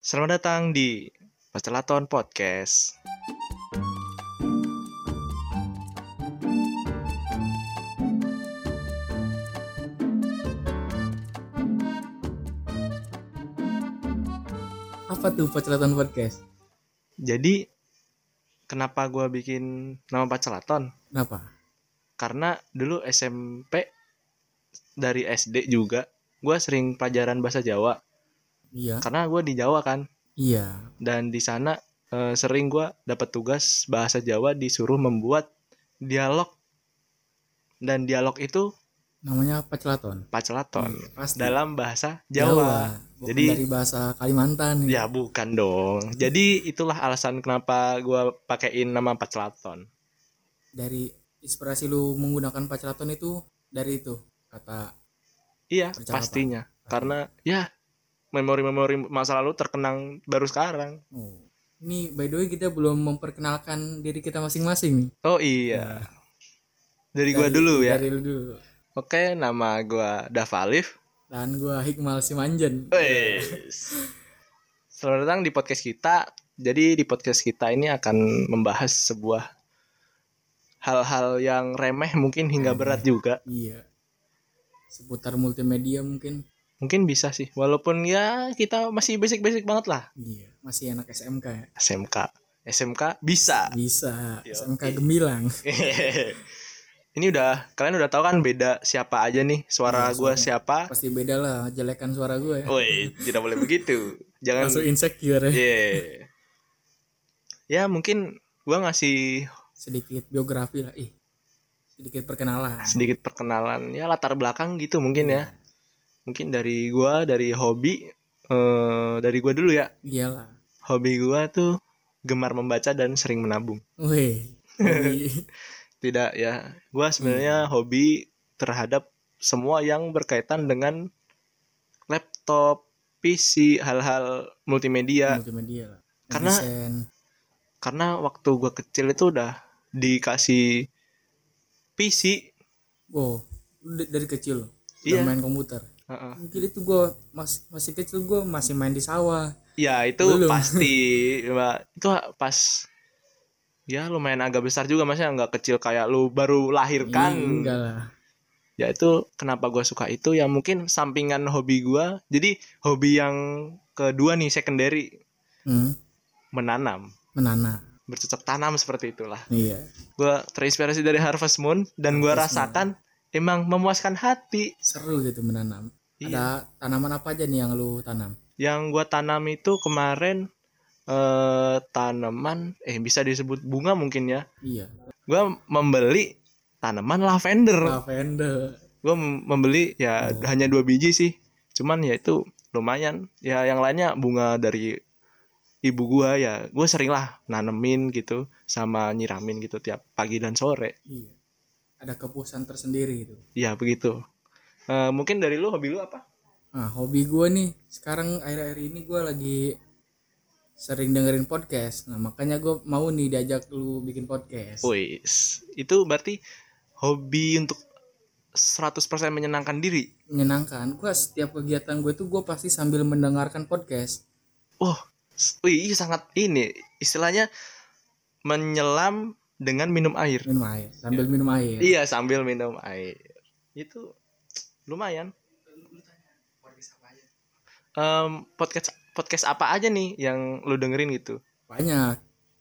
Selamat datang di Pastelaton Podcast. Apa tuh Pacelaton Podcast? Jadi, kenapa gua bikin nama Pastelaton? Kenapa? Karena dulu SMP dari SD juga, gua sering pelajaran bahasa Jawa. Iya. Karena gua di Jawa kan, Iya. dan di sana eh, sering gua dapat tugas bahasa Jawa disuruh membuat dialog dan dialog itu Namanya Pacelaton. Pacelaton Iya, Pasti. dalam bahasa Jawa. Bukan Jadi- dari bahasa Kalimantan. Ya bukan dong. Jadi itulah alasan kenapa gua pakein nama Pacelaton. Dari inspirasi lu menggunakan Pacelaton itu dari itu kata Iya, Percakapan. pastinya. Karena ya memori-memori masa lalu terkenang baru sekarang. Oh. Ini by the way kita belum memperkenalkan diri kita masing-masing nih. Nah, Oh iya. Dari gua dulu ya. Dari lu dulu. Oke, nama gua Davalif. Dan gua Hikmal Simanjan. Wes. Selamat datang di podcast kita. Jadi di podcast kita ini akan membahas sebuah hal-hal yang remeh mungkin hingga berat juga. Iya. Seputar multimedia mungkin. Mungkin bisa sih. Walaupun ya kita masih basic-basic banget lah. Iya, masih anak SMK ya. SMK. SMK bisa. Bisa. Yo, SMK iya. gemilang. ini udah kalian udah tahu kan beda siapa aja nih suara Iya, gua suara. siapa? Pasti beda lah jelekan suara gue ya. Woi, tidak boleh begitu. Jangan Langsung Iya. insecure ya. Yeah. Ya mungkin gua ngasih sedikit biografi lah ih sedikit perkenalan sedikit perkenalan ya latar belakang gitu mungkin ya. Mungkin dari gua dari hobi eh dari gua dulu ya. iyalah Hobi gua tuh gemar membaca dan sering menabung. weh Jadi, Tidak ya. Hmm. Gua sebenarnya hobi terhadap semua yang berkaitan dengan laptop, PC, hal-hal multimedia. multimedia lah Ya. Karena- Desain. Karena waktu gua kecil itu udah dikasih PC wow lu d- dari kecil loh Iya. udah main komputer Heeh. mungkin itu gue mas masih kecil gue masih main di sawah Ya itu Belum. pasti Mbak. itu pas ya lumayan agak besar juga maksudnya nggak kecil kayak lu baru lahir Ih, kan. Iya, enggak lah Ya itu kenapa gua suka itu ya mungkin sampingan hobi gua. Jadi hobi yang kedua nih secondary Hmm, menanam, menanam bercocok tanam seperti itulah. iya Gua terinspirasi dari Harvest Moon dan gua Harvest Moon. rasakan emang memuaskan hati. seru gitu menanam Iya. ada tanaman apa aja nih yang lu tanam Yang gua tanam itu kemarin eh tanaman eh bisa disebut bunga mungkin ya. iya gue membeli tanaman Nah. lavender lavender gue membeli ya Oh. hanya dua biji sih cuman ya itu lumayan ya yang lainnya bunga dari ibu gua ya gue sering lah nanemin gitu sama nyiramin gitu tiap pagi dan sore iya ada kepuasan tersendiri gitu ya begitu Eh, mungkin dari lu hobi lu apa Nah, hobi gue nih sekarang akhir-akhir ini gue lagi sering dengerin podcast. Nah, makanya gue mau nih diajak lu bikin podcast. Wis itu berarti hobi untuk 100% menyenangkan diri Menyenangkan. Gue setiap kegiatan gue tuh gue pasti sambil mendengarkan podcast. S- wih iya, sangat ini istilahnya menyelam dengan minum air Minum air, sambil minum air. Iya sambil minum air. Itu lumayan. Em, podcast podcast apa aja nih yang lu dengerin gitu? Banyak.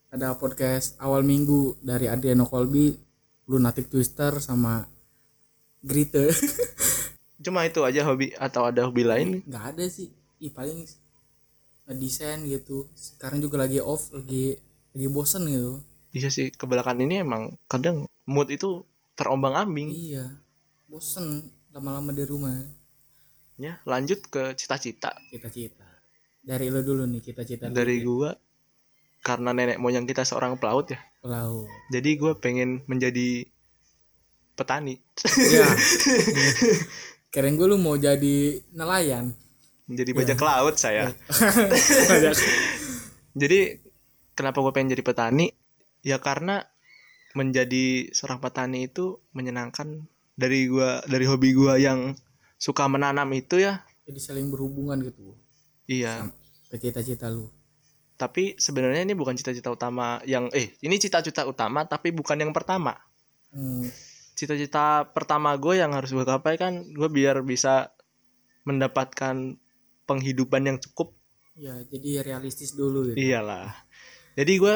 Ada podcast awal minggu dari Adriano Colby, Lunatic Twister sama Grite. Cuma itu aja hobi atau ada hobi lain? nggak ada sih. Ih, paling desain gitu. Sekarang juga lagi off, lagi lagi bosen gitu. Iya sih kebelakangan ini emang kadang mood itu terombang-ambing. Iya, bosen lama-lama di rumah. Ya lanjut ke cita-cita Cita-cita. Dari lo dulu nih cita-cita lu dari nih, gua karena nenek moyang kita seorang pelaut ya. pelaut. Jadi gua pengen menjadi petani, ya. Keren gue lu mau jadi nelayan. menjadi bajak laut saya. jadi kenapa gue pengen jadi petani ya karena menjadi seorang petani itu menyenangkan dari gua dari hobi gua yang suka menanam itu ya jadi saling berhubungan gitu. iya ke cita-cita lu Tapi sebenarnya ini bukan cita-cita utama yang eh ini cita-cita utama tapi bukan yang pertama. Hmm, Cita-cita pertama gue yang harus gue capai kan gue biar bisa mendapatkan penghidupan yang cukup ya jadi realistis Iya. dulu gitu Iyalah. Jadi gue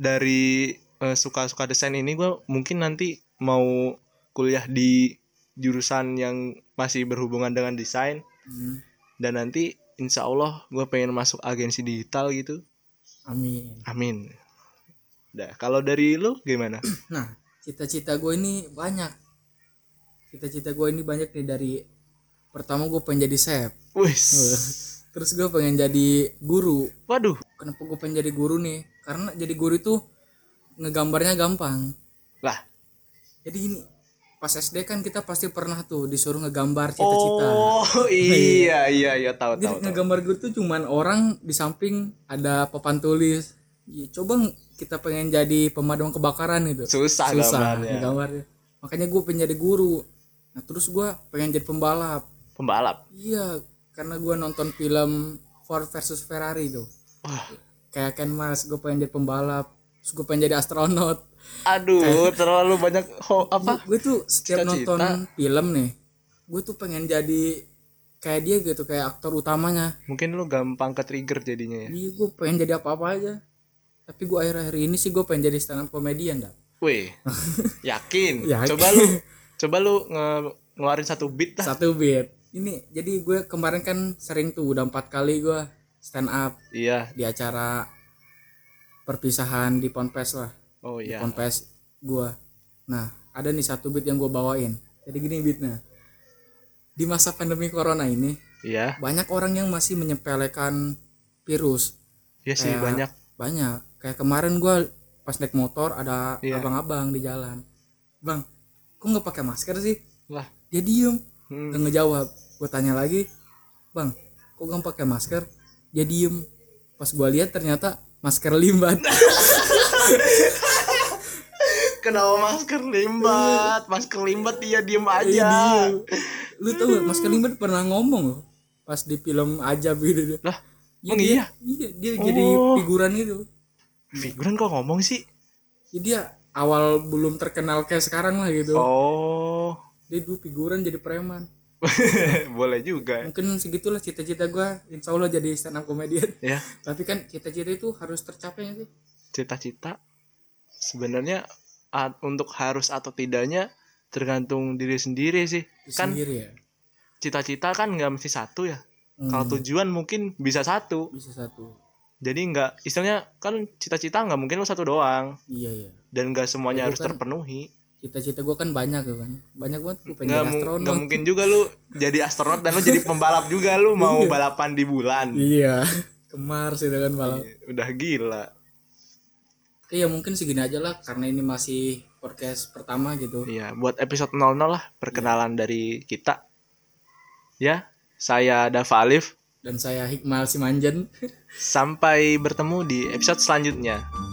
dari eh, suka-suka desain ini gue mungkin nanti mau kuliah di jurusan yang masih berhubungan dengan desain Hmm, dan nanti insya Allah gue pengen masuk agensi digital gitu. amin Amin. Dah, kalau dari lu gimana? nah cita-cita gue ini banyak cita-cita gue ini banyak nih dari pertama gue pengen jadi chef Wis. terus gue pengen jadi guru Waduh. kenapa gue pengen jadi guru nih karena jadi guru itu ngegambarnya gampang Lah. jadi gini pas SD kan kita pasti pernah tuh disuruh ngegambar cita-cita Oh, iya iya iya tahu jadi tahu. tahu. ngegambar guru tuh cuman orang di samping ada papan tulis Ya, coba ng- kita pengen jadi pemadam kebakaran gitu Susah, susah gambarnya. ngegambarnya makanya gue pengen jadi guru nah terus gue pengen jadi pembalap Pembalap. iya karena gue nonton film Ford versus Ferrari tuh Wah, kayak Ken Mars gue pengen jadi pembalap terus gue pengen jadi astronot aduh, terlalu banyak Eh. ho apa? gue tuh setiap Cita-cita. nonton film nih gue tuh pengen jadi kayak dia gitu kayak aktor utamanya Mungkin lu gampang ke trigger jadinya ya. iya gue pengen jadi apa apa aja tapi gue akhir-akhir ini sih gue pengen jadi stand up comedian dah Weh, yakin? Yakin. Coba lu, coba lu nge- ngeluarin satu beat lah. satu bit ini jadi gue kemarin kan sering tuh udah empat kali gue stand up Iya, di acara perpisahan di ponpes lah oh iya. konfes gua nah ada nih satu beat yang gua bawain jadi gini beatnya di masa pandemi corona ini Iya, banyak orang yang masih menyepelekan virus iya sih Kayak- banyak. banyak kayak kemarin gua pas naik motor ada Iya. abang-abang di jalan bang kok nggak pakai masker sih Lah. dia diem Hmm. nggak ngejawab gua tanya lagi bang kok nggak pakai masker dia diem pas gua lihat ternyata masker limbat Kenapa masker limbat? Masker limbat dia diem Iya, aja. diem. Lu tau gak Mas Kalimban pernah ngomong loh pas di film Ajab gitu dia. Lah, Ya, emang dia, iya? Iya, dia jadi Oh. figuran gitu. Figuran kok ngomong sih? Jadi dia awal belum terkenal kayak sekarang lah gitu. Oh, Dia dulu figuran jadi preman. boleh juga. Mungkin segitulah cita-cita gua insya Allah jadi stand up comedian. Ya, Tapi kan cita-cita itu harus tercapai nggak sih. cita-cita sebenarnya a- untuk harus atau tidaknya tergantung diri sendiri sih. Itu Kan sendiri ya. cita-cita kan nggak mesti satu ya. Hmm, Kalau tujuan mungkin bisa satu. bisa satu. jadi nggak istilahnya kan cita-cita nggak mungkin lo satu doang Iya iya. dan nggak semuanya Itu harus kan terpenuhi Cita-cita gua kan banyak ya kan. Banyak banget gua pengen nggak jadi mu- astronot. nggak mungkin juga lu jadi astronot dan lu jadi pembalap juga lu mau balapan di bulan Iya. Kemar sih kan malam. udah gila Oke, ya mungkin segini aja lah karena ini masih podcast pertama gitu. iya buat episode 00 lah perkenalan Iya. dari kita ya saya Dava Alif Dan saya Hikmal Simanjen. sampai bertemu di episode selanjutnya